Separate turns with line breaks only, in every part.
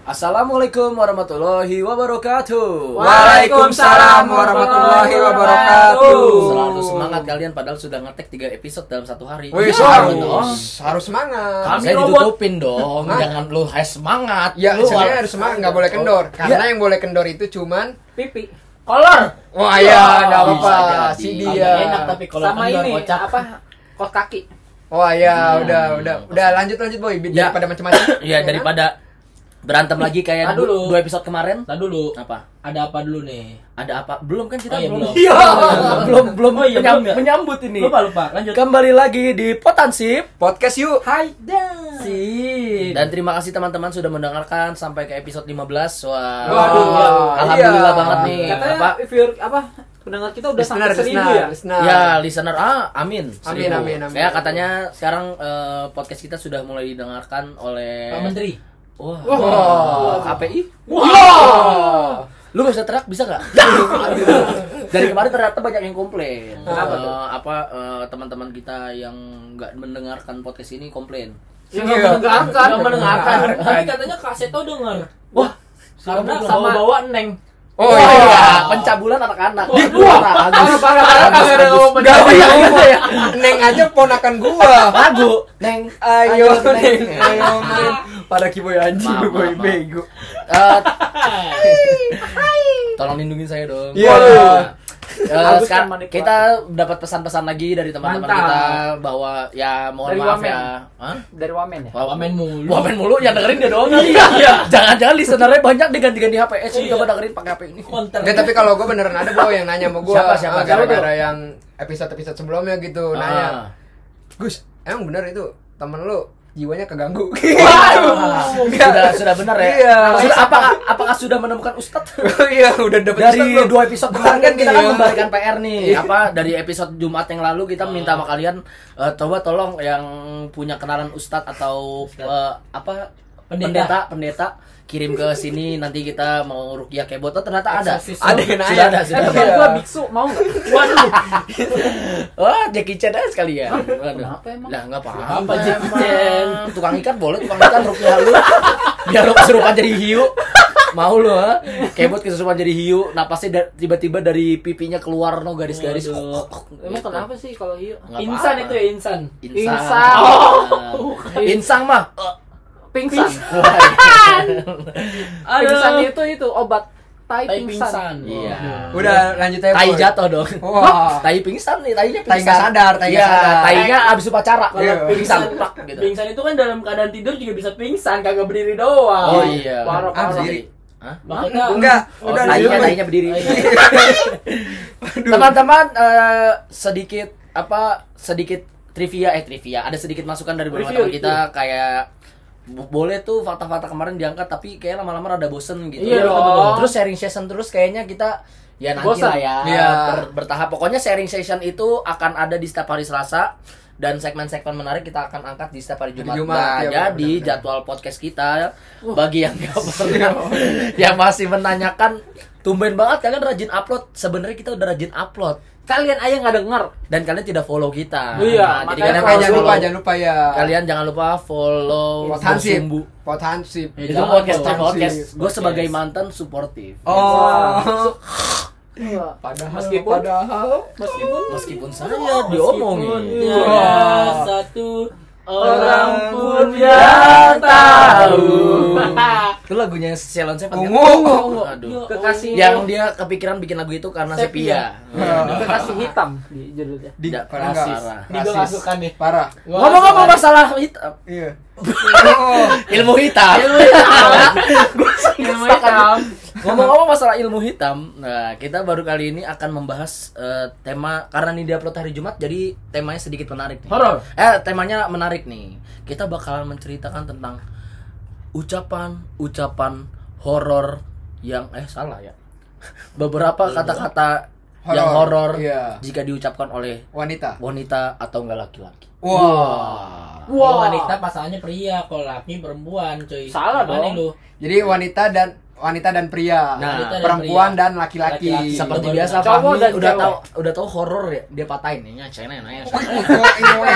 Assalamualaikum warahmatullahi wabarakatuh.
Waalaikumsalam warahmatullahi wabarakatuh.
Selalu semangat kalian padahal sudah ngetek 3 episode dalam satu hari.
Wih,
Ya,
Iya, harus, Oh.
dong.
harus semangat.
Kan
Kami
saya
robot.
ditutupin dong. Jangan lu hai semangat.
Ya,
lu
sebenarnya
wal-
harus semangat, Oh. Iya. nggak boleh kendor. Karena yang boleh kendor itu cuman
pipi
kolor.
Wah ya, nggak
bisa
apa-apa
jadi.
si
Iya.
Agak
dia.
enak tapi kalau
sama
kendor
ini
kocak.
apa kot kaki
Wah ya, udah udah udah lanjut lanjut boy.
Ya.
Daripada macam-macam.
Ya daripada berantem lagi kayak
Tahan dulu.
du- dua episode kemarin.
Ntar dulu
Apa?
ada apa dulu nih
Ada apa? Belum kan kita
Oh, iya, belum.
Iya. belum belum
Oh, iya,
menyam-
belum ya?
menyambut ini.
lupa lupa lanjut
Kembali lagi di Potansip.
podcast yuk.
hai dan
Sip. Dan terima kasih teman-teman sudah mendengarkan sampai ke episode 15. Wah.
Waduh,
Wah,
Alhamdulillah banget nih.
katanya
Iya, Apa?
if you're- apa pendengar kita udah
Listener,
sampai seribu
listener, Iya.
ya
listener.
Ya, listener ah, amin.
Amin, amin, amin.
Ya, katanya sekarang eh, podcast kita sudah mulai didengarkan oleh
Pak Menteri
Wah.
Wah.
KPI.
Wah.
Iya. Lu gak usah teriak bisa gak? Dari kemarin ternyata banyak yang komplain. Eh,
Kenapa tuh?
apa eh, teman-teman kita yang nggak mendengarkan podcast ini komplain.
yang nggak mendengarkan
nggak mendengarkan tapi katanya kak Seto denger
Wah,
karena
Sekarang
sama
bawa-
bawa neng
Oh
Wah,
iya.
pencabulan anak-anak.
Wah,
Parah, Agus. Agus, Agus. Gak banyak gitu ya.
Neng aja ponakan gua.
Lagu Neng
Ayo neng, ayo neng. Para kiboy anjing
Maaf,
boy
maaf, maaf.
bego.
Eh, Tolong lindungi saya dong.
Iya.
Eh,
Agus
sekarang
kan menikmati.
kita dapat pesan-pesan lagi dari teman-teman
Mantap.
kita bahwa ya mohon
Dari
maaf
Wamen.
ya. Hah?
dari wamen ya
wamen mulu
Wamen mulu yang dengerin dia doang. Iya. Jangan-jangan listenernya banyak diganti-ganti HP. Eh, sini
Iya.
coba dengerin pakai HP ini.
konter
Enggak, tapi kalau gue beneran ada boy yang nanya sama gue
Siapa, siapa, siapa
gara-gara yang episode-episode sebelumnya gitu nanya
Ah.
Gus emang bener itu temen lu jiwanya keganggu Gitu.
Sudah sudah benar ya.
Iya.
Sudah apakah apakah sudah menemukan ustadz?
iya udah dapet
dari
Ustaz, Bro.
dua episode kemarin kan kita kan
Iya.
membalikan PR nih
Iya.
apa dari episode Jumat yang lalu kita minta sama kalian eh, coba tolong yang punya kenalan ustadz atau eh, apa pendeta
Pendeta.
pendeta kirim ke sini nanti kita mau rukiah kebot oh, ternyata ada
Eksorsisme.
ada yang nanya
Sudah ada,
eh
sudah
teman
ada.
gua biksu mau nggak waduh
wah Oh, Jackie Chan aja sekali ya Waduh.
kenapa emang?
lah nggak apa-apa
Apa Jackie
emang.
Chan?
tukang ikan boleh tukang ikan rukiah lu biar lu kesurupan jadi hiu mau lu ha? kebot kesurupan jadi hiu napasnya da- tiba-tiba dari pipinya keluar no garis-garis Oh,
Waduh.
emang kenapa sih kalau iya? hiu
Nggak
insan
apa-apa.
itu ya insan
Insang.
Insang. Oh.
Nah, Insang mah.
pingsan pingsan itu itu obat tai
tai
pingsan
pingsan
Iya.
udah lanjut aja
Tai
boy.
jatuh dong.
Wah.
Hah? Tai pingsan nih, tainya
Tai
pingsan.
nggak sadar, tai nggak
Iya,
sadar.
tainya abis upacara.
Iya.
Pingsan
pingsan
plak gitu.
pingsan itu kan dalam keadaan tidur juga bisa pingsan kagak berdiri doang
Oh iya.
Parah,
Ah,
parah.
berdiri.
Hah?
makanya
enggak
Oh,
udah
tainya,
lanjut
tainya berdiri.
Iya.
Teman-teman eh, sedikit apa sedikit trivia eh trivia ada sedikit masukan dari beberapa
Review,
teman kita kayak bo- boleh tuh fakta-fakta kemarin diangkat tapi kayak lama-lama rada bosen gitu
Iya dong.
terus sharing session terus kayaknya kita ya nanti
Bosen.
lah ya
Iya.
ber- bertahap pokoknya sharing session itu akan ada di setiap hari Selasa dan segmen-segmen menarik kita akan angkat di setiap hari Jumat.
Jumat,
Nah,
iya,
jadi
benar-benar.
jadwal podcast kita ya. bagi yang nggak pernah yang masih menanyakan tumben banget kalian rajin upload. Sebenarnya kita udah rajin upload
kalian aja nggak denger
dan kalian tidak follow kita. Nah,
Iya,
jadi
makanya
kalian
Makanya jangan
follow.
lupa jangan lupa ya
Kalian jangan lupa follow
potansip
Bersumbu.
potansip
Ya,
Itu
jangan
podcast,
follow.
podcast.
Potansip.
Gue sebagai mantan suportif.
oh padahal
Meskipun-
padahal
meskipun
Meskipun saya diomongin.
Iya.
Iya.
Tiada
Wah.
satu
Orang
Iya. orang pun
pun
yang
yang
tahu.
Itu lagunya Selon Seven. kan?
Ungu.
Ungu. Aduh.
kekasih
Yang dia kepikiran bikin lagu itu karena sepia.
Sepia.
kekasih hitam di judulnya
di
Tidak,
parah
rasis.
nggak?
Ini gua
Rasis.
masukkan nih.
parah
Ngomong-ngomong masalah hitam.
iya Oh.
Ilmu hitam.
Yang hitam
Ngomong-ngomong masalah ilmu hitam, nah kita baru kali ini akan membahas eh, tema karena ini diupload hari Jumat, jadi temanya sedikit menarik. nih.
Horor.
Eh, temanya menarik nih. Kita bakalan menceritakan tentang ucapan-ucapan horor yang eh salah ya. Beberapa kata-kata yang horor
Horor, iya.
jika diucapkan oleh
wanita
wanita atau enggak laki-laki.
wah
Wah,
Wah.
wanita pasangannya pria, kalau laki perembuan, cuy.
Salah
Gimana
dong.
lu?
jadi wanita dan wanita dan
Nah,
pria, Wanita dan
pria.
perempuan dan laki-laki.
Laki-laki.
Seperti
Betul.
biasa
Iya, Cowok
Fahmi
dan
udah
cewek.
tahu udah tahu horor ya dia patahin nih China nanya Jadi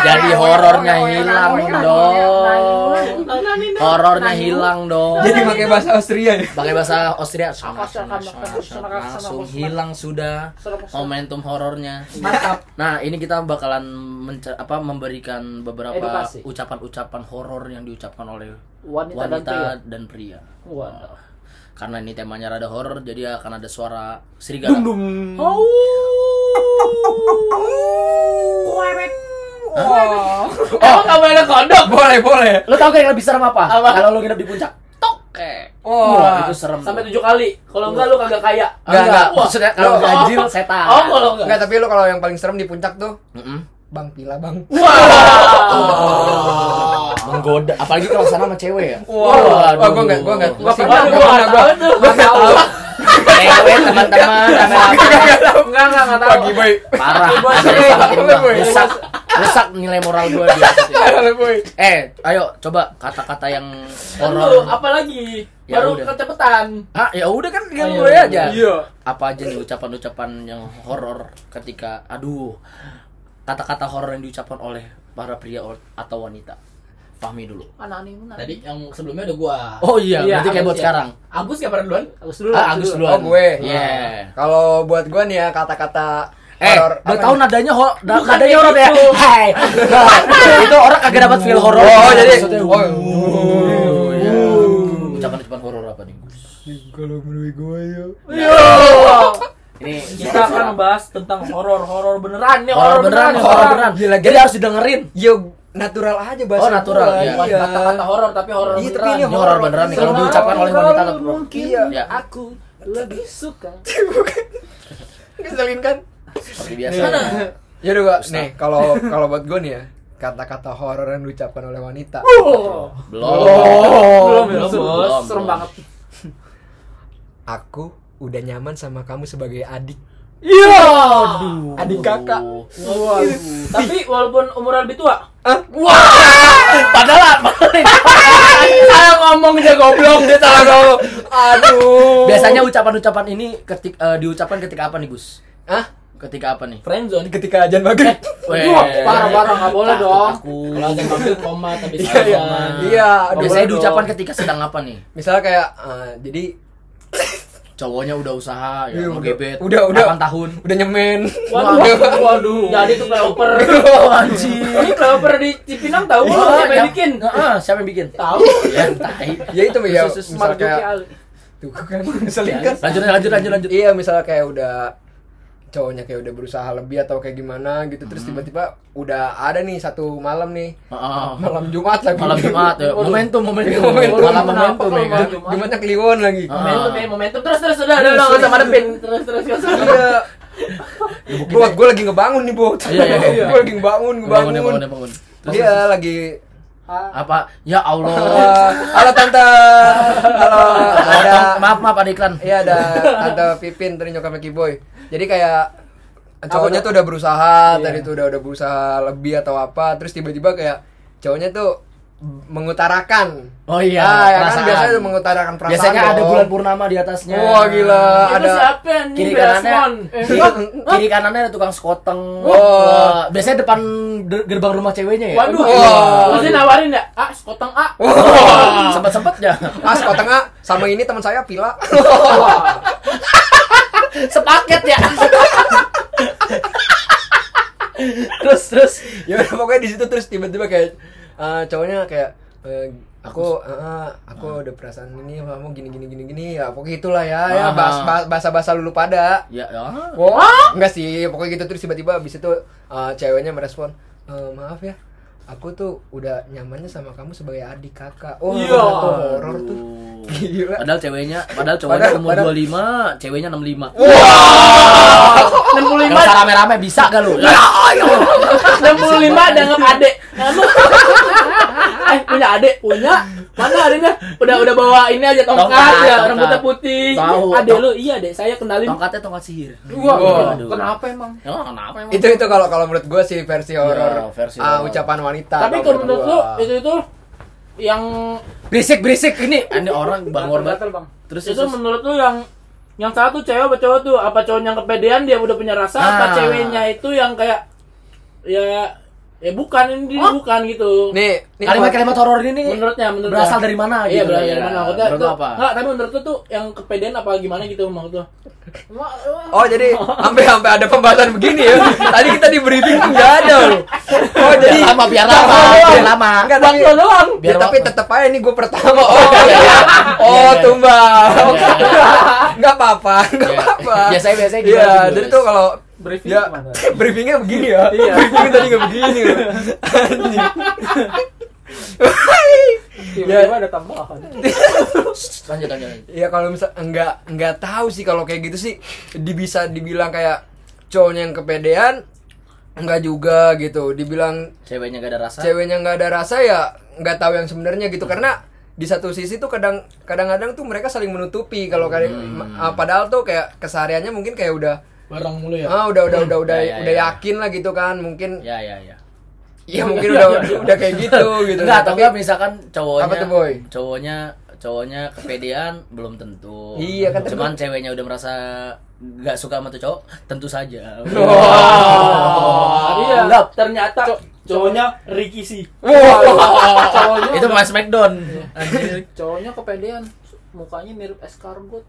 Jadi
horornya hilang dong. Horornya
Nah,
hilang dong.
Jadi pakai bahasa Austria ya.
pakai bahasa Austria
Apa, silakan, silakan, silakan,
langsung
silakan.
hilang sudah
Silakan, silakan.
momentum horornya.
Mantap.
Nah, ini kita bakalan menca- apa memberikan beberapa
Edukasi.
ucapan-ucapan horor yang diucapkan oleh
Wanita, dan pria.
wanita dan pria.
Waduh.
Karena ini temanya rada horor, jadi akan ada suara serigala.
Oh.
Oh, nggak boleh ada kodok.
Boleh, boleh.
Lo tau kan yang lebih serem apa?
Apa?
Kalau lo nginep di puncak,
Tokek.
wah itu
Wah.
serem.
Sampai tujuh kali. Kalau enggak lu kagak kaya.
Enggak, enggak.
Wah.
Maksudnya kalau
Wah.
ganjil setan.
Oh, kalau enggak.
Enggak, tapi lu kalau yang paling serem di puncak tuh
Mm-mm.
Bang Pila, Bang.
Menggoda, apalagi kalau sana sama cewek ya.
Wah, Oh, gua enggak, gua enggak.
Gua
Gua
Waduh,
pernah,
gua
gua
nggak tahu tuh.
Gua enggak tahu.
Cewek teman-teman, rame-rame.
Enggak, enggak, enggak tahu.
Pagi, boy.
parah.
Gua
sering. Gua
Rusak, rusak nilai moral gue.
Halo, boy.
Eh, ayo coba kata-kata yang
Lu
horor.
apa lagi?
Ya
Baru
udah.
kecepatan.
Ah, ya udah kan tinggal
Ayo,
gue aja.
Iya.
Apa aja nih ucapan-ucapan yang horor ketika aduh. Kata-kata horor yang diucapkan oleh para pria or- atau wanita. Fahmi dulu.
Anak ini mana?
Tadi yang sebelumnya udah gua.
Oh iya,
Iya,
berarti kayak
Agus
buat
ya.
sekarang.
Agus siapa duluan?
Agus dulu.
Ah, Agus duluan.
Oh, gue.
Iya.
Kalau buat gua nih ya kata-kata
Eh,
horor.
udah
apa
tahu
nih?
nadanya ho, na-
Bukan
nadanya horor ya.
kayak gitu.
Hai. Nah, itu orang kagak dapat feel horor.
Oh, jadi
Maksudnya,
oh,
wuh, ya.
iya.
Ucapan-ucapan horor apa nih, Gus?
Kalau menurut gue ya
Ini
Oh. Kita akan membahas tentang horor-horor Ya, beneran nih,
horor beneran, nih, horor beneran.
Gila,
Jadi harus didengerin.
Yo Ya, natural aja bahasa.
Oh, natural,
gua,
iya.
Bukan
Iya.
kata-kata horor tapi horor
Iya, tapi
beneran.
ini
Ini horor beneran nih kalau
Selalu
diucapkan oleh wanita atau pria.
mungkin
Iya.
aku lebih suka
Ngeselin kan?
Seperti biasa.
Ya udah gua
Susah.
nih kalau kalau buat gue nih ya kata-kata horor yang diucapkan oleh wanita.
Oh.
Belum.
belum
Oh. belum,
serem-
Oh, belum,
serem
belum.
banget
Aku udah nyaman sama kamu sebagai adik.
iya
Adik kakak.
Waduh. Tapi walaupun umur lebih tua.
Padahal
saya ngomong aja goblok
Dia salah ngomong. Aduh.
biasanya ucapan-ucapan ini ketik eh, diucapkan ketika apa nih, Gus?
Hah?
Ketika apa nih?
Friendzone.
Ketika ajan
Eh,
maghrib.
Weh.
Wah, parah-parah, nggak boleh
Takut
dong.
Aku.
Kalau ada ngambil koma tapi
Iya, iya.
sama.
Iya, aduh,
Biasanya
boleh
diucapkan
dong.
ketika sedang apa nih?
Misalnya kayak eh, jadi
Cowoknya udah usaha ya,
Iya,
mau
udah.
gebet.
Udah,
8
udah.
tahun.
udah nyemen.
Waduh, waduh, waduh. Jadi tuh keloper.
Oh, anjing.
Ini keloper di Cipinang
Iya,
tahu siapa yang bikin?
Heeh, siapa yang bikin?
Tahu.
Ya, tai.
ya itu ya.
Sus, sus, sus.
Misalnya
Marzuki
kayak
Ali
tuh kan ngeselin kan.
Ya, Lanjut, lanjut, lanjut, lanjut.
Iya, misalnya kayak udah cowoknya kayak udah berusaha lebih atau kayak gimana gitu terus
Hmm.
tiba-tiba udah ada nih satu malam nih
Heeh.
malam Jumat lagi
Oh. Malam Jumat ya.
Waduh.
Momentum, momentum.
Momentum.
Malam momentum ya kan.
Jumat- Jumatnya kliwon lagi
Ah.
Momentum, ya, momentum. Terus, terus, udah, udah, udah, nggak usah madepin. Terus, terus, nggak usah.
iya buat gue lagi ngebangun nih bot
Ya, Iya, iya, iya.
gue lagi ngebangun
Bangun,
ngebangun
ya, bangun, ya, bangun. Terus,
dia lagi
apa? Ya Allah.
"Eh, halo tante halo ada
Potong. Maaf, maaf ada iklan.
iya ada tante Pipin tadi nyokapnya Kiboy jadi kayak cowoknya tuh udah
Iya.
berusaha tadi tuh udah udah berusaha lebih atau apa terus tiba-tiba kayak cowoknya tuh mengutarakan
Oh iya,
ah, ya kan
perasaan.
biasanya tuh mengutarakan perasaan
Biasanya ada
dong.
bulan purnama di atasnya.
wah gila
Itu
ada
siapa yang
Kiri
ini
kanannya.
Berasmon?
Kiri, kiri kanannya ada tukang skoteng.
Wah.
Wah, Biasanya depan de- gerbang rumah ceweknya ya.
Waduh,
Wah.
maksudnya nawarin ya? Ah, sekoteng A.
Sempat sempatnya.
Mas kok tengah sama ini teman saya Pila.
Sepaket ya. terus terus
ya udah, pokoknya di situ terus tiba-tiba kayak eh, cowoknya kayak eh, aku eh, aku ada perasaan ini sama kamu gini gini gini gini ya pokoknya itulah ya ya
Aha.
bahas bahasa bahasa lulu pada.
ya ya.
Wah, enggak sih, pokoknya gitu terus tiba-tiba abis itu eh, ceweknya merespon, "Eh, maaf ya, aku tuh udah nyamannya sama kamu sebagai adik kakak. Oh,
Iya.
kata horor tuh. Gila.
Padahal ceweknya, padahal cowoknya
Padahal-
umur
padahal-
25, ceweknya 65.
Enam puluh Iya.
Kalau salah rame-rame bisa gak lu?
enam puluh lima ada nggak adek Anu. eh punya adek punya mana adeknya udah udah bawa ini aja tongkat,
Tongkat,
ya
tongkat.
rambutnya putih
Tahu.
adek lu iya adek saya kenalin
Tongkatnya tongkat sihir.
Wah,
Aduh.
kenapa emang
Ya, kenapa emang?
Itu itu kalau kalau menurut gue sih versi
Iya,
horor
versi
ah,
horor.
ucapan wanita.
tapi
kalau
kalau menurut lu
gua.
itu itu yang
Berisik berisik ini. Ini orang bang
Gatel,
orbat.
gatel, Bang.
Terus
itu
terus-
menurut lu yang yang satu cewek apa cowok tuh apa cowoknya yang kepedean dia udah punya rasa apa
Ah.
ceweknya itu yang kayak ya ya bukan ini dia bukan gitu
Nih, nih
kalimat-kalimat horor ini nih
menurutnya menurut
Eh, berasal
gua.
dari mana
iya
gitu
berasal
ya?
dari mana maksudnya
Menurut
tuh,
apa?
nggak tapi menurut lu tuh yang kepedean apa gimana gitu maksud lu
Oh jadi sampai sampai ada pembahasan begini ya. Tadi kita di briefing tuh nggak ada loh. Oh jadi
Biar lama, biar lama, biar lama.
Enggak tapi
doang.
Ya,
Biar
tapi
lama.
tetap aja nih gue pertama. Oh iya.
Iya, iya.
Oh tumbal.
Iya,
Nggak apa-apa, nggak apa-apa.
Biasanya- biasanya gimana
Iya,
sih, Boris?
jadi tuh kalau
Briefing
ya
gimana?
briefingnya begini ya. Briefing tadi nggak begini. loh. Anjing.
Tiba-tiba ada tambahan.
Lanjut lanjut. lanjut.
Ya kalau misal enggak enggak tahu sih kalau kayak gitu sih di, bisa dibilang kayak cowoknya yang kepedean enggak juga gitu. Dibilang
Ceweknya gak ada rasa.
ceweknya nggak ada rasa ya nggak tahu yang sebenarnya gitu karena di satu sisi tuh kadang kadang-kadang tuh mereka saling menutupi kalau kali ah, padahal tuh kayak kesehariannya mungkin kayak udah
barang mulu ya
ah udah udah udah udah
Ya, ya,
udah
ya.
yakin lah gitu kan mungkin
Ya ya ya.
ya mungkin udah udah kayak gitu
Oh,
gitu
Enggak, atau
tapi
enggak misalkan cowoknya
Apa tuh, Boy?
cowoknya cowoknya kepedean belum tentu.
Iya, kan tentu-
Cuman ceweknya udah merasa gak suka sama tuh cowok, tentu saja.
Wah, Oh. iya.
Lap.
Ternyata cowoknya Ricky sih.
Cowoknya
Itu Mas McDon.
Iya.
cowoknya kepedean mukanya mirip escargot.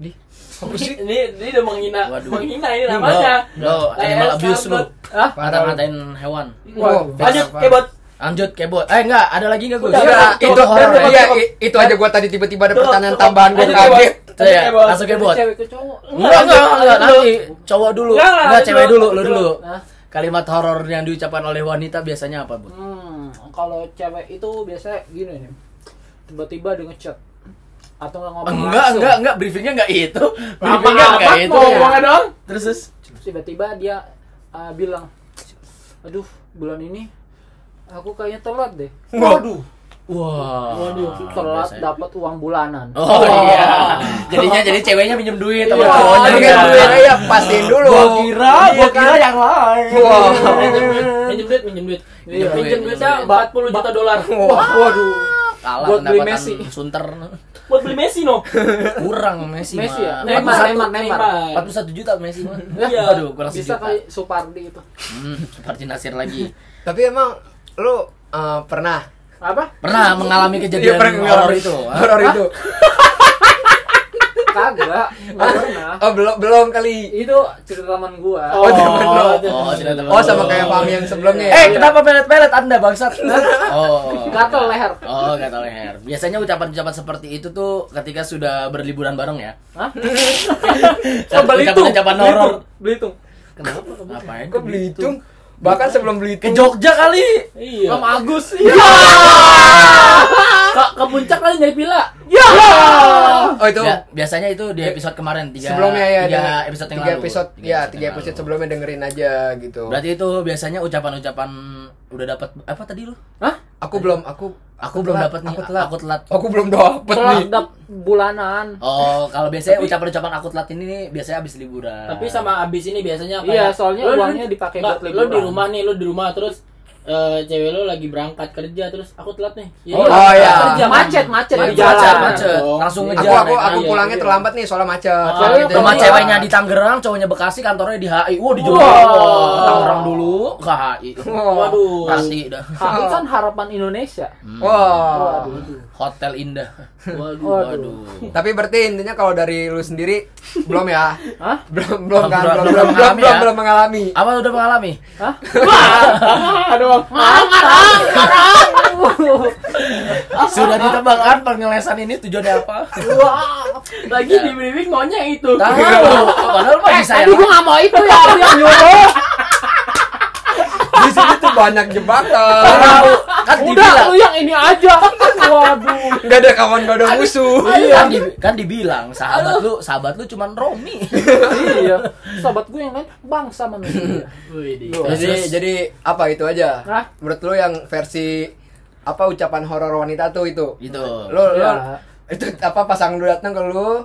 apa sih
Ini ini udah menghina,
Waduh.
menghina ini namanya.
Lo
Kayak
animal abuse lu.
escarbot. Hah?
Ngata-ngatain hewan.
Wah,
Lanjut, Eh,
parah.
kebot.
Lanjut kebot. Eh enggak, ada lagi enggak gue?
Udah,
Enggak,
Cukup,
itu
cukup,
horor.
iya,
ya.
cukup.
i- itu aja gua tadi tiba-tiba ada
Cukup,
pertanyaan
cukup.
tambahan gua
Lanjut,
kaget.
kebot.
Tuh ya,
Lanjut, kebot.
langsung kebot.
Cewek ke cowok.
Enggak, enggak, enggak, nanti cowok dulu.
gitu.
Enggak, enggak,
Enggak,
nanti
cewek
dulu,
dulu, lu
nanti
dulu.
dulu.
Nah.
Kalimat horor yang diucapkan oleh wanita biasanya apa, Bu?
Hmm, kalau cewek itu biasanya gini nih. Tiba-tiba dia ngechat atau nggak ngomong
Enggak,
langsung.
enggak, enggak, briefingnya enggak itu. Briefingnya
Apa
enggak
apa
itu. ya.
mau ngomongnya dong?
Terus terus
Tiba-tiba dia uh, bilang, "Aduh, bulan ini aku kayaknya telat deh."
Waduh.
Wah.
telat
biasanya.
dapat uang bulanan.
Oh iya. Jadinya jadi ceweknya minjem duit sama
Iya,
cowoknya.
ini kan
enggak.
duit aja pastiin dulu.
Gua kira,
Iya
gua
kan?
kira yang lain.
Wah.
Minjem duit, minjem duit.
Iya,
Minjem
iya,
duitnya
iya.
40 juta dolar.
Wah.
Waduh.
Kalah
Buat beli
pendapatan
Messi.
Sunter.
Buat beli Messi no.
Kurang Messi.
Messi
mah.
ya? Neymar,
41.
Neymar, Neymar.
Neymar.
41 juta Messi mah.
Iya.
Aduh, Ya, kurang
Bisa
sejuta.
kali Supardi itu.
Hmm, seperti Nasir lagi.
Tapi emang lu eh, pernah
Apa?
Pernah mengalami
Iya,
kejadian
pernah
horor itu? ah?
Horor itu.
Kagak, nggak pernah.
Oh, belum belum kali.
Itu cerita teman gua.
Oh, temen lo.
Oh, cerita temen lo.
Oh, sama kayak Fahmi yang sebelumnya. ya?
Eh, kenapa pelet-pelet Anda bangsat? oh.
Gatel leher.
Oh, gatal leher. Biasanya ucapan-ucapan seperti itu tuh ketika sudah berliburan bareng ya.
Hah?
Oh, Belitung.
Ucapan-ucapan horor.
Belitung. Belitung.
Kenapa? Ngapain?
Kok Belitung? Bahkan sebelum
Ke
Belitung.
Jogja kali.
Iya.
Om Agus.
Ke, ke puncak kali nyari pila.
Oh, itu
Ya, biasanya itu di episode kemarin tiga,
sebelumnya ya.
tiga
denger-
episode yang
tiga
lalu.
episode, ya, tiga
yang
episode
lalu.
sebelumnya dengerin aja gitu.
Berarti itu biasanya ucapan-ucapan udah dapat apa tadi lu?
Hah?
Aku belum aku
Aku belum
telat,
dapat nih.
Aku telat.
Aku telat.
Aku belum dapet
Telat
nih.
dap- bulanan.
Oh, kalau biasanya ucapan-ucapan aku telat ini nih biasanya habis liburan.
Tapi sama abis ini biasanya
Iya,
kayak-
soalnya
lu-
uangnya dipakai
nggak,
buat
Lu di
liburan.
rumah nih, lu di rumah terus eh, cewek lu lagi berangkat kerja terus aku telat nih. Iya,
Oh,
berangkat
iya.
kerja,
Macet,
Bang.
macet di
Macet,
jalan.
macet, macet.
Dong.
Langsung
Iya.
ngejar.
Aku aku
mereka. gitu.
aku
Iya,
pulangnya
iya.
terlambat nih soalnya macet.
Ah,
Soalnya
iya,
gitu.
Rumah
Iya.
ceweknya di Tangerang, cowoknya Bekasi, kantornya di HI. Wah, di Jogja.
Wah.
Wah, Tangerang dulu ke HI.
Waduh.
Pasti dah.
Tapi kan harapan Indonesia.
Wah.
Hotel Indah. Waduh,
Waduh.
waduh.
Tapi berarti intinya kalau dari lu sendiri belum ya?
Hah?
Belum belum kan?
Belum- belum
Belum belum belum
mengalami
belum,
ya?
belum mengalami.
Apa lu udah mengalami?
Hah?
Aduh.
Sudah ditebak kan pengelesan ini tujuannya apa?
Lagi
Iya.
di briefing maunya itu.
Tahu. Padahal mah bisa ya.
Tapi gua nggak mau itu ya, aku yang nyuruh.
Di situ tuh banyak jebakan.
Tahu. Kan
Udah, oh iya,
dibilang.
lu yang ini aja. Waduh.
Gak ada kawan, gak ada musuh.
Kan, di- kan dibilang sahabat lu, sahabat lu cuman Romi.
iya. Sobat gue yang lain bangsa manusia.
Widih.
Jadi jadi apa itu aja?
Hah?
Menurut lu yang versi apa ucapan horor wanita tuh itu?
Gitu.
Lu lu
Ya.
itu apa pasang lu datang ke lu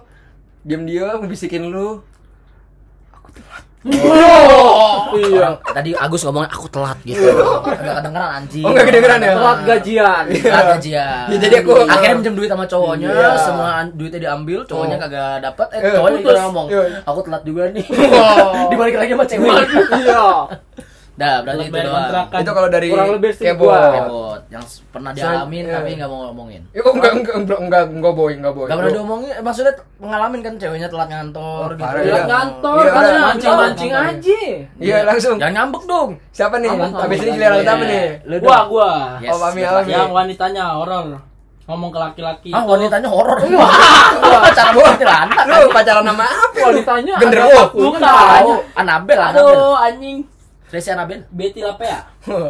diam-diam bisikin lu
Iya.
Orang- tadi Agus ngomong aku telat gitu. Enggak kedengeran anjing.
Oh, nggak kedengeran ya?
Telat gajian.
Telat gajian.
Ya, jadi aku-
akhirnya minjem duit sama cowoknya,
Iya.
semua an- duitnya diambil, cowoknya
Oh.
kagak dapat. Eh,
Eh,
cowoknya
putus.
juga ngomong,
Iya.
aku telat juga nih. Dibalik lagi sama cewek.
Iya.
Dah, berarti itu
Bayar
doang.
kontrakan.
Itu kalau dari
Kan Kurang lebih sih
Kebo.
gua.
Kebot yang s- pernah dialamin
Iya.
tapi nggak mau ngomongin.
Ya, oh, enggak, enggak, enggak, enggak, enggak, boy, enggak, boy.
Gak pernah diomongin, eh, maksudnya t- pengalamin kan ceweknya telat ngantor
Oh,
gitu.
parah
Telat
Iya.
ngantor
Iya,
karena
udah,
mancing-mancing
mancing-mancing
aja.
Iya, langsung.
Jangan ngambek dong.
Siapa nih?
Apa,
Habis
apa,
ini giliran
Ya. iya.
utama nih.
Lu
Gua,
dong.
gua.
Yes,
Oh, Mami
silakan.
Alami.
Yang wanitanya horor. Ngomong ke laki-laki.
Ah,
itu-
wanitanya horor. Wah, cara kuntilanak.
Lu pacaran sama apa? lu?
Wanitanya ada
genderuwo.
apa?
Bukan.
Tahu, Anabel, Anabel.
Aduh, anjing.
Tracy Anabel.
Betty Lapea.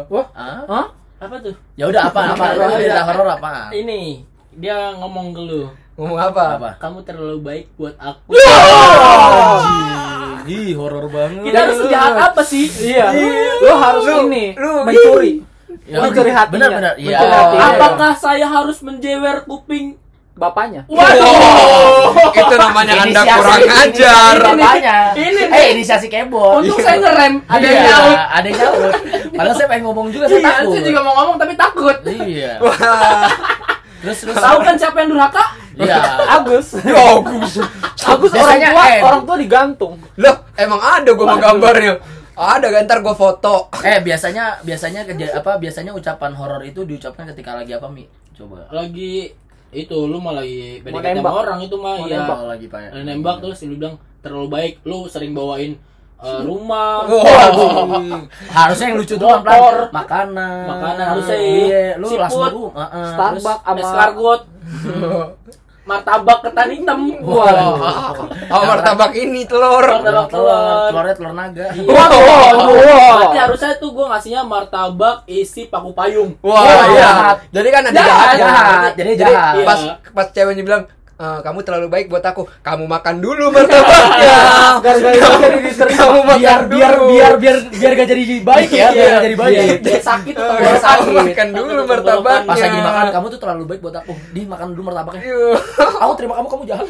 Wah.
Hah?
Hah?
Apa tuh?
Ya udah apa apa
Iya,
lu
iya.
cerita horor apa?
Ini dia ngomong ke lu.
Ngomong apa?
Apa?
Kamu terlalu baik buat aku.
Ih, horor banget.
Kita harus jahat apa sih?
Iya. Lu harus
Lu-
ini
lu-
mencuri.
Ya,
Mencuri hatinya.
Benar benar. Iya.
Mencuri hatinya.
Apakah saya harus menjewer kuping?
bapaknya?
Iya. Waduh.
Itu namanya Anda
Inisiasi.
kurang ajar.
Ini bapaknya.
Ini nih.
Eh, inisiasi kebo.
Untung saya ngerem.
Ada
Ada
yang
yang
nyaut.
nyaut.
Ada yang nyaut. Padahal saya pengen ngomong juga saya
Iya,
takut.
saya Iya, juga mau ngomong tapi takut.
Iya.
Wah.
Terus terus.
Tahu kan siapa yang durhaka?
Iya.
Agus.
Ya, Agus.
Agus orang
Biasanya
tua,
M.
orang tua digantung.
Loh, emang ada gua mau gambarnya. Ada kan ntar gua foto.
Eh, biasanya biasanya keja- apa biasanya ucapan horor itu diucapkan ketika lagi apa, Mi? Coba.
Lagi itu lu mah lagi
Mau
PDKT
nembak.
sama orang itu mah
Mau
ya.
nembak.
Kalau lagi Pak.
Lagi nembak terus lu bilang terlalu baik. Lu sering bawain eh, rumah.
Oh. Waduh.
Hmm. Harusnya yang lucu tuh
Motor.
pelan Makanan.
Makanan harusnya.
Iya, lu
Seafood.
langsung lu. heeh.
Starbucks
Sama...
sama
Escargot. Martabak ketan hitam. Wah.
Wah.
Oh, martabak ini telur.
Martabak telur. Iya.
Telurnya telur naga.
Waduh, waduh.
Berarti harusnya tuh gue ngasihnya martabak isi paku payung.
Wah, iya.
jahat.
Jadi kan ada
Jahat,
jahat.
jahat. Jadi jahat.
Iya.
Pas pas ceweknya bilang "Eh, kamu terlalu baik buat aku. Kamu makan dulu martabaknya.
Iya.
gara-gara itu jadi diterima.
Kamu makan
biar
dulu.
biar biar biar biar gak jadi baik ya, biar gak jadi baik.
Dia, dia sakit
Eh,
tuh
Iya.
tenggorokan.
kamu makan dulu
Takut
martabaknya.
Pas lagi makan kamu tuh terlalu baik buat aku. Di makan dulu martabaknya.
Iya.
Aku terima kamu kamu jahat.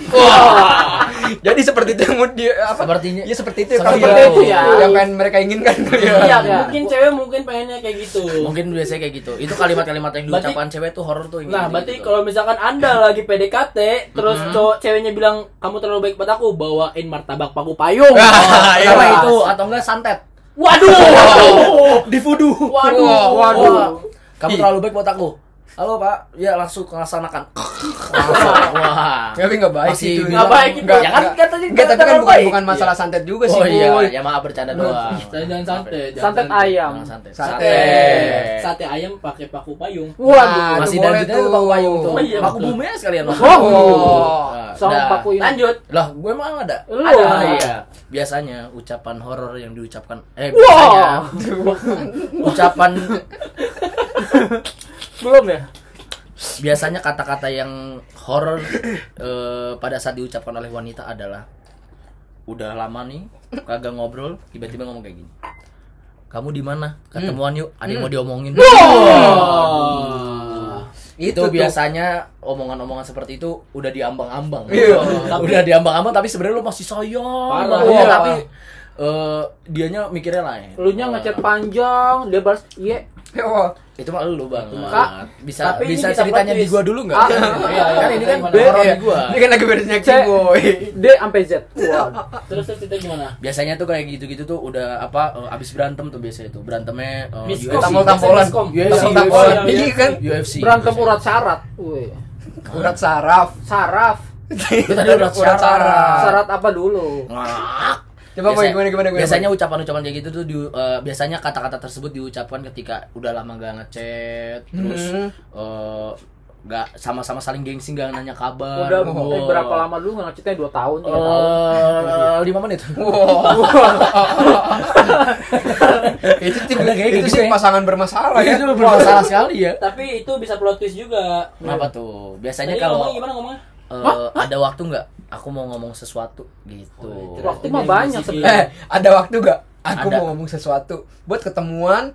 Jadi seperti itu yang mau dia apa?
Sepertinya.
Ya seperti itu.
Seperti
Seperti
itu ya.
Yang pengen mereka inginkan tuh ya.
Iya,
Iya.
mungkin cewek mungkin pengennya kayak gitu.
Mungkin biasanya kayak gitu. Itu kalimat-kalimat yang
Berarti-
diucapkan cewek tuh horor tuh. gitu. yang
Nah,
gitu-gitu
berarti
tuh.
kalau misalkan Anda lagi PDKT, terus
Mm-hmm.
cowok ceweknya bilang kamu terlalu baik buat aku, bawain martabak paku payung.
Ah, iya.
Pertama itu Nah, atau enggak santet.
Waduh.
Di fudu.
Waduh.
Wah,
Waduh.
Wah, Kamu
Ih.
terlalu baik buat aku. Halo Pak, ya langsung laksanakan. Langsung. Wah.
Tapi nggak
Ah.
baik
Masih
sih. itu.
nggak
baik itu.
Nggak,
Ya kan
nggak.
katanya
Nggak, tapi kan
terlalu
bukan
baik.
bukan masalah santet juga sih,
Oh
Boy.
iya, ya maaf bercanda doang. ya.
Saya jangan santai. jangan
santet
santai.
ayam.
Jangan santai. Eh.
Santai.
Sate ayam pakai paku payung.
Nah,
Waduh.
itu
Masih
boleh
dan itu paku payung tuh.
Oh, iya,
Paku
betul.
bumi aja sekalian. Mas.
Oh.
Nah,
Sama
dah.
paku ini.
Lanjut.
Lah, gue emang ada.
Lu. ah.
Ada. Iya. Biasanya ucapan horor yang diucapkan eh biasanya
Wah.
ucapan
Belum ya?
biasanya kata-kata yang horor eh, pada saat diucapkan oleh wanita adalah udah lama nih kagak ngobrol tiba-tiba ngomong kayak gini. Kamu di mana? Ketemuan
Hmm.
yuk, ada yang mau diomongin. Oh.
Oh.
itu,
tuh.
biasanya omongan-omongan seperti itu udah diambang-ambang.
Iya.
udah diambang-ambang tapi sebenarnya lu masih sayang.
Parah.
Iya,
Iya.
tapi eh, dianya mikirnya lain. Oh.
Lu nya ngechat panjang, dia balas iya.
Ya, wah.
Itu mah lu banget.
Kak,
bisa
tapi ini
bisa
kita
ceritanya
plot
di gua dulu enggak?
Ah,
iya, iya.
kan ini kan
Gimana?
horor
Iya.
di gua.
Ini kan lagi beresnya
C,
boy.
E, D sampai Z. Wah.
Terus terus cerita gimana?
Biasanya tuh kayak gitu-gitu tuh udah apa eh, abis berantem tuh biasanya tuh. Berantemnya eh,
Miskom.
UFC.
Tampol-tampolan.
Miskom.
Iya, iya,
Tampol-tampolan.
iya,
Ini kan
UFC.
Berantem
biasanya.
urat syarat. Wih.
urat saraf.
Saraf.
Itu tadi urat
Ah.
saraf.
Syarat apa dulu?
Ngak.
Coba
Biasanya-
boy Ya, gimana gimana gimana.
Biasanya ucapan-ucapan kayak gitu tuh di, eh, biasanya kata-kata tersebut diucapkan ketika udah lama gak ngechat, terus
Hmm.
eh, nggak sama-sama saling gengsi nggak nanya kabar.
Udah
Wah.
eh, berapa lama dulu ngechatnya 2 tahun,
Oh.
3 tahun.
Eh, lima menit.
Wow. itu tim
Ada kayak
itu
gitu
sih
ya.
pasangan bermasalah
Itu
ya.
bermasalah sekali ya.
Tapi itu bisa plot twist juga.
Kenapa tuh? Biasanya
Tadi
kalau
ngomong gimana ngomongnya?
eh, ada waktu nggak? Aku mau ngomong sesuatu gitu.
Oh,
Waktu mah banyak
Eh,
sebenarnya.
ada waktu gak? Aku
Ada.
mau ngomong sesuatu. Buat ketemuan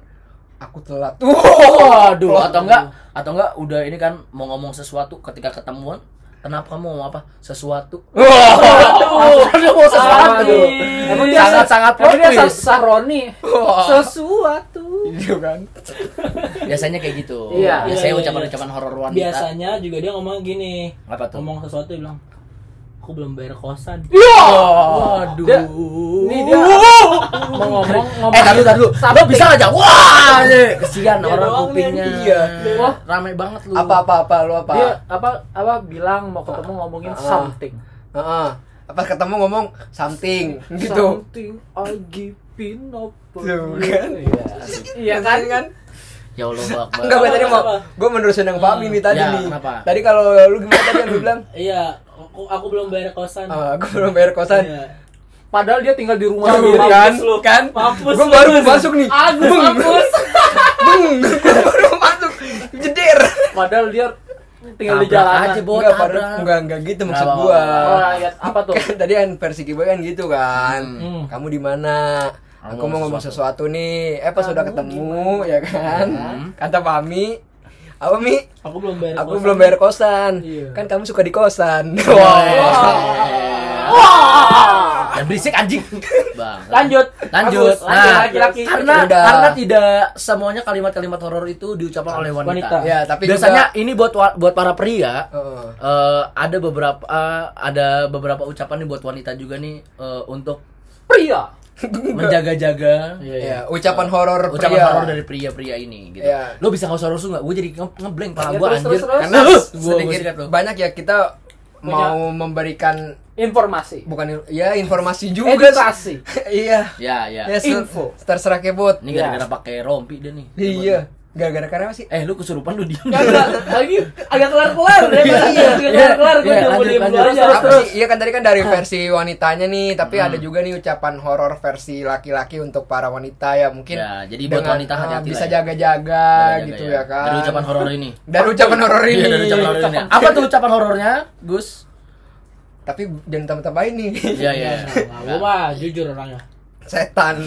aku telat.
Waduh, atau enggak? Atau enggak udah ini kan mau ngomong sesuatu ketika ketemuan Kenapa kamu mau apa? Sesuatu.
Waduh.
Aduh,
Oh,
mau sesuatu.
Aduh.
Emang dia
Sangat-sangat plot
Tapi dia sa-
twist.
saroni.
Wah.
Sesuatu.
Gitu kan.
Biasanya kayak gitu.
Iya.
Biasanya
Iya, iya,
ucapan-ucapan horor wanita.
Biasanya juga dia ngomong gini.
Apa tuh?
Ngomong sesuatu dia bilang, aku belum bayar kosan.
Waduh.
Dia- Nih dia mau ngomong ngomong.
Eh, taruh taruh. Lo bisa aja. Wah, ini Eh, kesian
Dia
orang
doang
kupingnya.
nih.
Iya.
Wah, rame banget lu.
Apa apa apa lu apa?
Dia apa apa bilang mau ketemu ngomongin
Ah.
something.
Heeh. Pas ketemu ngomong something gitu.
Something I give in up.
Tuh, kan?
Iya kan?
Ya Allah, Akbar.
Enggak, gue tadi mau
Apa?
gue menerusin yang Fahmi nih tadi
Ya,
nih.
kenapa?
Tadi kalau lu gimana tadi yang lu bilang?
Iya, aku, aku belum bayar kosan.
Ah, gue belum bayar kosan.
Iya.
Padahal dia tinggal di rumah
Tuh,
sendiri.
kan?
lu.
Kan?
Mampus
Gue
lu.
baru masuk nih.
Agus,
Bung.
Agus.
Bung, gue baru masuk. Jeder.
Padahal dia tinggal di
Tabrak
jalanan.
aja, Bo.
Enggak,
tabrak.
padahal enggak enggak gitu maksud
Kenapa?
gua.
Oh, rakyat. apa tuh?
Kan tadi kan versi Kiboy kan gitu kan.
Hmm.
Kamu di mana? Aku mau ngomong sesuatu nih. Eh pas sudah ketemu ya kan. Kata Fahmi, apa Mi?
Aku belum bayar
Aku
kosan. ya?"
belum bayar kosan.
Iya.
Kan kamu suka di kosan.
Dan berisik anjing. Bang.
Lanjut.
Lanjut.
Agus, lanjut,
Nah,
laki-laki.
karena
Udah.
karena tidak semuanya kalimat-kalimat horor itu diucapkan oleh wanita.
Wanita.
Ya, tapi
Biasanya
juga-
ini buat wa- buat para pria
Heeh.
eh, ada beberapa eh, ada beberapa ucapan nih buat wanita juga nih eh, untuk pria
Iya,
menjaga-jaga
Ya, ucapan horor
ucapan
pria.
horor dari pria-pria ini gitu.
Iya.
Lo bisa nggak usah rusuh nggak? Gue jadi nge- ngeblank pala
Ya,
gue
terus,
anjir.
terus, terus.
Karena
Huh, gua- gua
sedikit
sikat lo.
banyak ya kita
Punya-
mau memberikan
Informasi.
bukan ya informasi juga.
Edukasi.
iya.
Ya ya.
Ya, se-
Info.
Terserah kebot.
Ini gara-gara pakai rompi dia nih.
Iya. Gara-gara karena apa sih?
Eh lu kesurupan lu Iya, diam.
Kagak, lagi agak kelar-kelar deh. Agak kelar-kelar gue
Iya,
udah mau
lanjut,
diem
lanjut.
dulu aja.
Apa sih? Iya kan tadi kan dari versi wanitanya nih, tapi ada
Hmm.
juga nih ucapan horor versi laki-laki untuk para wanita ya mungkin.
Ya, jadi buat
dengan,
wanita
ah,
hati-hati
bisa
lah ya.
jaga-jaga
Jaga-jaga
gitu ya. kan.
Dari ucapan horor ini.
Dari ucapan horor ini.
Iya, dari ucapan horor ini. Apa tuh ucapan horornya, Gus?
Tapi jangan tambah-tambahin nih.
Iya, iya.
Nah, gue mah jujur orangnya.
Setan.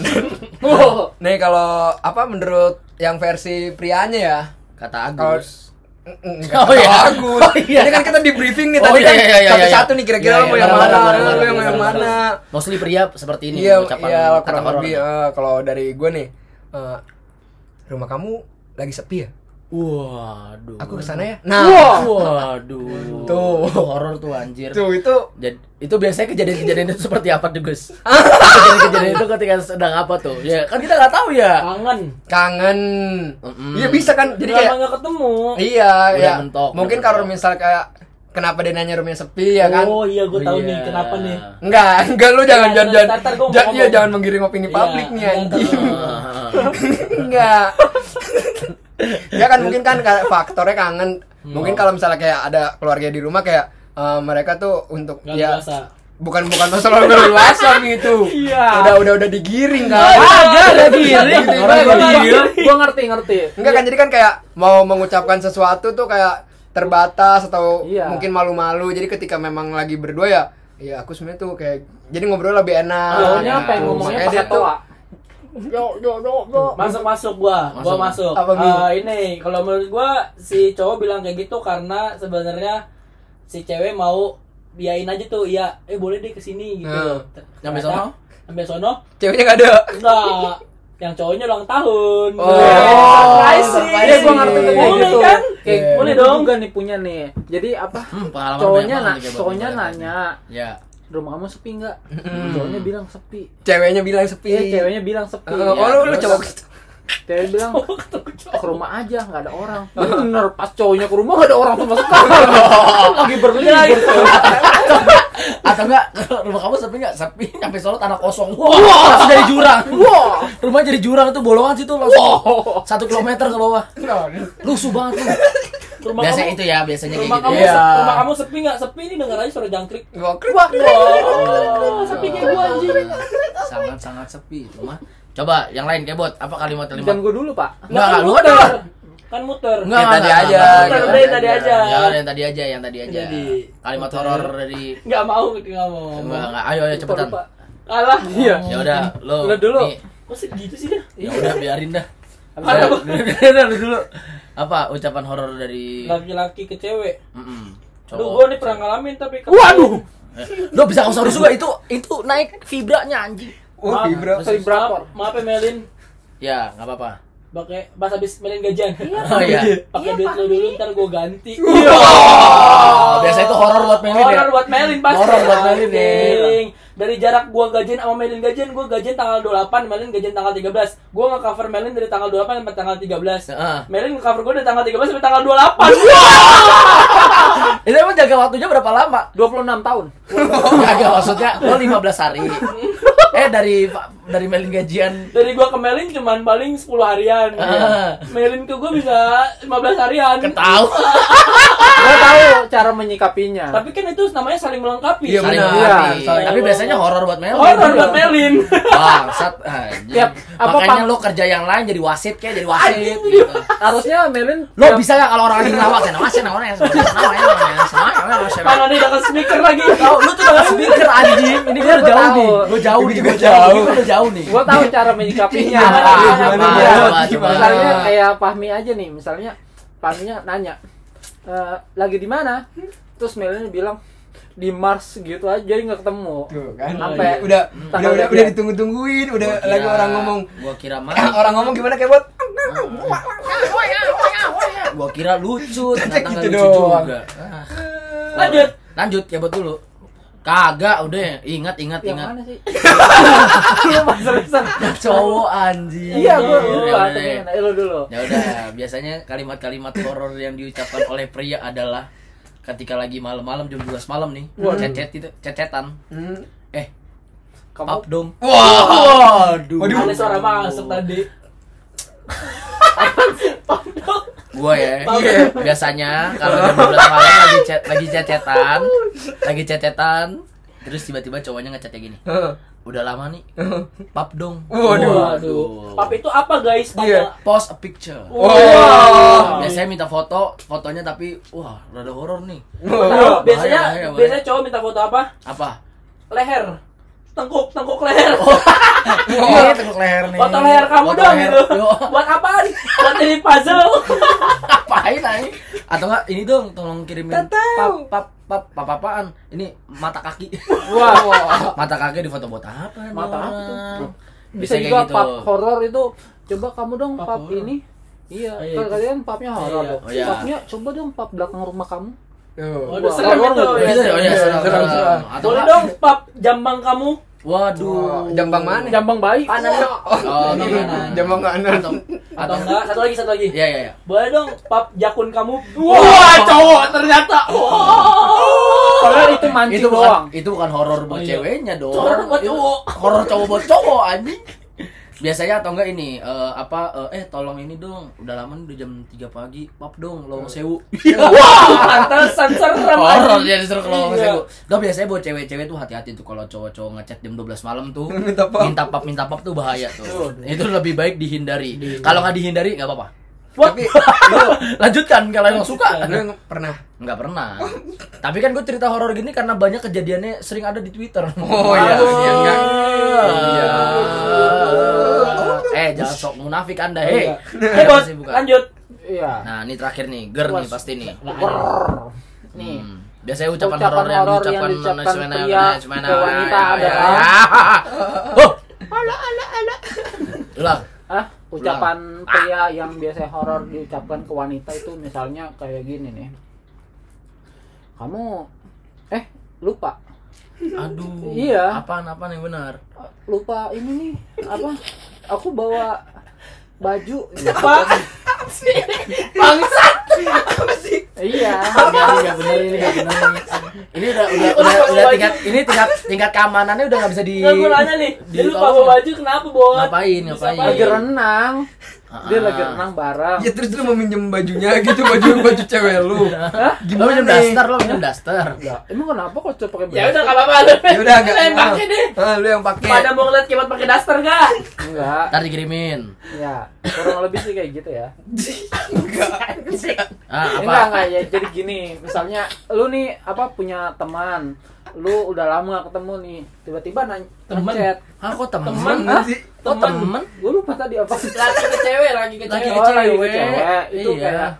Wow.
nih kalau apa menurut yang versi prianya ya?
Kata
Kalau-
Agus.
Enggak
Oh, iya.
bagus.
Oh, iya.
Ini kan kita di briefing nih
Oh,
tadi
iya,
kan
iya, iya, iya,
satu-satu
iya.
nih kira-kira
Iya,
lo mau
iya,
yang
benar,
mana,
benar,
lo
benar,
yang mau
benar,
yang
benar,
mana.
benar. Mostly pria seperti ini
Iya,
ucapan
iya
kata
kurang
horor.
lebih eh, kalau dari gue nih eh, rumah kamu lagi sepi ya?
Waduh.
Aku kesana ya.
Mm.
Nah,
Waduh.
Tuh.
Itu horor tuh anjir.
tuh itu
Jadi, itu biasanya kejadian-kejadian itu seperti apa tuh Gus? kejadian-kejadian itu ketika sedang apa tuh? Ya kan kita nggak tahu ya.
Kangen.
kangen.
Mm-mm.
Iya bisa kan? Jadi
Jadi
kayak
lama nggak ketemu.
iya
Udah
ya.
mentok,
Mungkin
udah
kalau
mentok.
misal kayak kenapa dia nanya rumahnya sepi ya kan?
Oh iya, gue tahu
Iya.
nih kenapa nih.
Enggak, enggak lu jangan
Iya,
jangan
ntar-
jangan
ntar gua mau
jangan- iya,
ngomong.
jangan menggiring opini
Iya,
publik nih
ntar-
anjing.
Ah.
Hmm,
Enggak. ya kan mungkin kan kayak faktornya kangen.
Hmm.
Mungkin kalau misalnya kayak ada keluarga di rumah kayak eh, mereka tuh untuk
Nggak
ya
biasa.
bukan bukan masalah luasan gitu.
Iya.
Udah udah udah digiring kan.
Ada lagi.
Orang gua
giring.
Gue ngerti ngerti.
Enggak kan jadi kan kayak mau mengucapkan sesuatu tuh kayak terbatas atau
Iya.
mungkin malu-malu. Jadi ketika memang lagi berdua ya Iya aku sebenarnya tuh kayak jadi ngobrol lebih enak.
Awalnya
Iya.
apa yang
Tuh,
ngomongnya
makanya
pakai
dia tuh-
toa.
Masuk masuk gua, gua
Masuk.
masuk.
Apa, Mi?
Eh, ini kalau menurut gua si cowok bilang kayak gitu karena sebenarnya si cewek mau biain aja tuh, iya, eh boleh deh kesini gitu.
Nah.
Sampai
Ternyata,
sono?
Sampai sono?
Ceweknya gak ada.
Enggak. Yang cowoknya ulang tahun. Iya,
Oh.
Surprise.
surprise.
Iya gue ngerti tuh kayak
Boleh
gitu.
kan?
Kayak
Iya.
boleh dong gak nih punya nih. Jadi apa?
Hmm, pengalaman
Cowoknya
banyak
na
banget nih kayak
cowoknya
bapak-bapak ini.
nanya
Ya.
rumah kamu sepi nggak? Cowoknya bilang sepi.
Ceweknya bilang sepi.
Iya, ceweknya bilang sepi.
Eh, oh lu lu
Terus
cowok
Cewek bilang ke rumah aja nggak ada orang. Bener pas cowoknya ke rumah nggak ada orang sama sekali. Lagi
Iya,
berlibur.
Atau enggak rumah kamu sepi enggak? Sepi sampai solo tanah kosong. Wah, langsung dari jurang.
Wow.
Rumah jadi jurang itu bolongan situ langsung. Satu kilometer ke bawah. Lusuh banget lu.
Rumah
Biasanya
kamu,
itu ya, biasanya kayak
rumah
gitu.
kamu,
Iya.
se- rumah kamu sepi nggak? Sepi nih denger aja suara jangkrik.
Wah,
Oh, sepi kayak gua anjing.
Sangat-sangat sepi itu mah. Coba yang lain kebot, apa kalimat-kalimat?
Dan gue dulu pak.
Enggak, enggak, lu
muter.
ada.
Kan muter.
Enggak,
Yang tadi
enggak,
aja,
enggak,
yang
enggak.
tadi aja.
Ya, udah, yang tadi aja, yang tadi aja.
Jadi,
Kalimat
oke.
horor dari
Nggak mau, gitu, nggak mau.
Enggak, enggak. Ayo, ayo cepetan.
Lupa.
Alah.
Iya.
Ya udah, lu.
Lu dulu.
nih.
Kok segitu sih dia?
Ya udah biarin dah.
Apa?
Biarin dah, lu dulu. Apa ucapan horor dari
Laki-laki ke cewek.
Mm-mm.
Duh, gua nih pernah ngalamin tapi kemarin.
Waduh.
Lo bisa kau juga itu itu naik vibranya anjing.
Oh,
Maaf,
vibra.
Masih vibrator.
Maaf, maaf ya Melin.
Ya, nggak apa-apa.
Pakai pas habis Melin gajian.
Oh iya.
Pakai duit lu dulu ntar gua ganti.
Oh, biasanya itu horor buat Melin ya.
Horor buat Melin pasti.
Horor buat Melin, ya.
Anjing. Dari jarak gua gajian sama Melin gajian, gua gajian tanggal 28, Melin gajian tanggal 13. Gua nge-cover Melin dari tanggal 28 sampai tanggal 13.
Heeh.
Melin nge-cover gua dari tanggal 13 sampai tanggal 28.
Itu emang jaga waktunya berapa lama?
26 tahun.
Jaga maksudnya lo 15 hari. Eh dari dari Melin gajian
Dari gua ke Melin cuman paling 10 harian. ya.
Ah.
Melin ke gua bisa 15 harian.
Kan ketawa.
Gua tahu cara menyikapinya.
Tapi kan itu namanya saling melengkapi.
Iya,
Saling
benar.
mengerti.
Iya, saling-
Tapi biasanya horor buat Melin.
Horor buat Melin.
Bangsat anjing.
Tiap- apa,
Makanya
Pak?
lo kerja yang lain jadi wasit kayak jadi wasit.
Anjing,
gitu.
Harusnya Melin
Lo bisa nggak kalau orang lagi ngelawak ya? Nawasin, nawasin, nawasin, nawasin, nawasin, nawasin, nawasin.
Tangannya udah ke speaker lagi.
Tahu lu tuh dalam ya, speaker anjing. Ini gue udah
Gua
jauh
tahu.
nih. Gue jauh
Ini
nih.
gua
Gue jauh.
jauh.
Gue udah jauh nih.
gua tahu cara menyikapinya
Iya,
Gimana,
Nah,
gimana,
apa?
gimana,
gimana?
misalnya kayak Fahmi aja nih misalnya Fahminya nanya "Eh, lagi di mana terus Melin bilang di Mars gitu aja jadi nggak ketemu
Tuh kan.
Sampai-
Udah udah
Tanggal
udah,
berapa?
udah ditunggu-tungguin, udah
Gua kira-
lagi orang ngomong. "Ah,
Gua kira mah.
orang ngomong gimana kayak buat
Gua kira lucu. Ternyata nggak
gitu
lucu
doang.
juga. Ah.
Lanjut.
Lanjut ya buat dulu. Kagak udah ingat ingat
yang
ingat
mana sih lu Mas Rizal.
cowok anjing
iya
Ya
gua dulu
udah.
lu dulu
Ya udah, biasanya kalimat-kalimat horor yang diucapkan oleh pria adalah ketika lagi malam-malam jam 12 malam nih, cecet gitu, cecetan.
Hmm.
Eh,
kamu
up dong.
Waduh. Waduh.
Ada suara masuk tadi.
Gua ya. Biasanya kalau jam 12 malam lagi cet lagi cecetan, lagi cecetan, terus tiba-tiba cowoknya ngechat kayak gini.
Heeh.
Udah lama nih. Pap dong.
Waduh.
Pap itu apa guys? Pap-
Iya.
Post a picture.
Wah.
Biasanya minta foto, fotonya tapi wah, rada horor nih.
Tahu, biasanya
Bahaya, bahaya, bahaya.
biasanya cowok minta foto apa?
Apa?
Leher. Tengkuk, tengkuk leher.
Iya, tekuk leher nih.
Foto leher kamu
Foto
dong
Oh, leher.
gitu.
Yo.
Buat apaan? Buat jadi puzzle.
ngapain aja atau enggak ini dong tolong kirimin pap pap pap pap apaan ini mata kaki
wah
mata kaki di foto buat apa nih
Mata apa
orang?
tuh?
bisa
bisa
kayak
juga
gitu
pub horor itu coba kamu dong
Pub
pub
horor.
ini iya
Iya,
kalau
itu-
kalian pubnya horor
Iya.
dong
Oh, iya.
pubnya coba dong pub belakang rumah kamu
Tuh.
Waduh,
Wah,
serem
horor
itu.
gitu.
Gitu ya, oh iya, serem,
Serem,
serem.
serem.
Atau
Boleh
enggak,
dong pap jambang kamu.
waduh
Wah, jambang mana?
jambang bayi kanan
oh
Iya,
iya.
kanan.
Jambang Iya, kanan.
atau
Atau enggak? Satu lagi, satu lagi.
ya ya ya
Boleh dong pap jakun kamu.
Wah,
cowok ternyata. Wah.
padahal itu mancing
itu bukan
doang
itu bukan horor buat
Oh, iya.
ceweknya dong
Horor buat
Itu
cowok.
horor cowok buat cowok anjing biasanya atau enggak ini eh, apa eh eh, tolong ini dong udah lama nih udah jam 3 pagi pap dong lowong sewu
Pantesan serem.
horor
anjing.
dia disuruh ke lowong
Iya.
sewu Tuh, biasanya buat cewek-cewek tuh hati-hati tuh kalau cowok-cowok ngechat jam 12 malam tuh
Minta pap.
minta pap minta pap tuh bahaya tuh itu lebih baik dihindari kalau nggak dihindari nggak apa-apa
Tapi
lanjutkan kalau emang suka
lu yang pernah.
nggak pernah tapi kan gue cerita horor gini karena banyak kejadiannya sering ada di twitter
Oh iya, iya, iya.
Iya. Eh jangan sok munafik anda hei.
Eh,
Ayo,
Bos,
sih, buka.
lanjut.
iya
Nah ini terakhir nih, ger nih pasti nih.
nih
Hmm. Biasanya ucapan,
Ucapan
horor yang
horor yang
diucapkan
diucapkan
nasional-
pria
nasional-
ke wanita
ya, ya,
adalah-
ya. Oh. Ulang.
ah ucapan pria yang biasa horor diucapkan ke wanita itu misalnya kayak gini nih kamu eh lupa
Aduh.
Iya.
Apaan apaan yang benar?
lupa ini nih apa aku bawa baju
Pak,
Ini
iya
nggak benar ini nggak benar ini. Ini udah udah udah, udah tingkat ini tingkat tingkat keamanannya udah nggak bisa di.
nggak gue nanya nih.
di- ya.
Dia lupa bawa baju kenapa, Bos?
Ngapain,
Bisa
ngapain?
lagi
Iya.
renang dia
Ah.
lagi renang bareng
Ya terus lu mau minjem bajunya gitu, baju baju cewek lu.
Lo minum Oh, daster, lo minum daster.
Ya, emang kenapa kok cuma pakai
Ya
baju
udah enggak apa-apa.
Ya udah enggak.
Yang pakai deh.
Ah, lu yang pakai.
Pada mau ngeliat kibat pakai daster enggak?
enggak
Ntar dikirimin.
ya kurang lebih sih kayak gitu ya
Ah,
enggak
apa?
enggak ya jadi gini misalnya lu nih apa punya teman lu udah lama gak ketemu nih tiba-tiba nanya
Temen.
ngechat
Ah, kok temen?
Temen,
Hah?
sih?
Kok
Temen.
temen?
gue lupa tadi apa
Lagi ke cewek, lagi ke
Lagi
gitu,
ke
cewek.
Oh, lagi ke
cewek.
cewek. Itu
Iya.
kayak-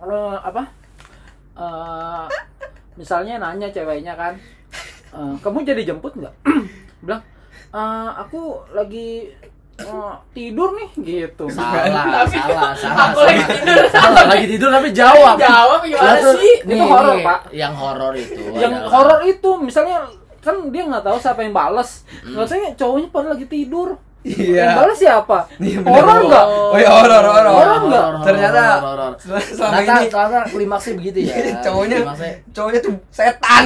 Eh, apa eh, misalnya nanya ceweknya kan, eh, kamu jadi jemput nggak? Bilang, "Eh, aku lagi eh, tidur nih gitu.
salah salah salah salah
Aku lagi tidur.
salah lagi tidur tapi jawab
Jawab
Lah
gimana
tuh,
sih?
nih,
Itu horor,
nih,
Pak.
yang horor itu
yang
adalah-
horor itu misalnya kan dia nggak tahu siapa yang balas maksudnya cowoknya pada lagi tidur yang
Iya.
balas siapa
Iya, bener.
horor nggak
Oh ya horor horor.
Horor nggak?
Ternyata
horor, horor.
selama
ternyata
ini
ternyata klimaksnya begitu ya
cowoknya
Klimaksnya-
cowoknya tuh setan.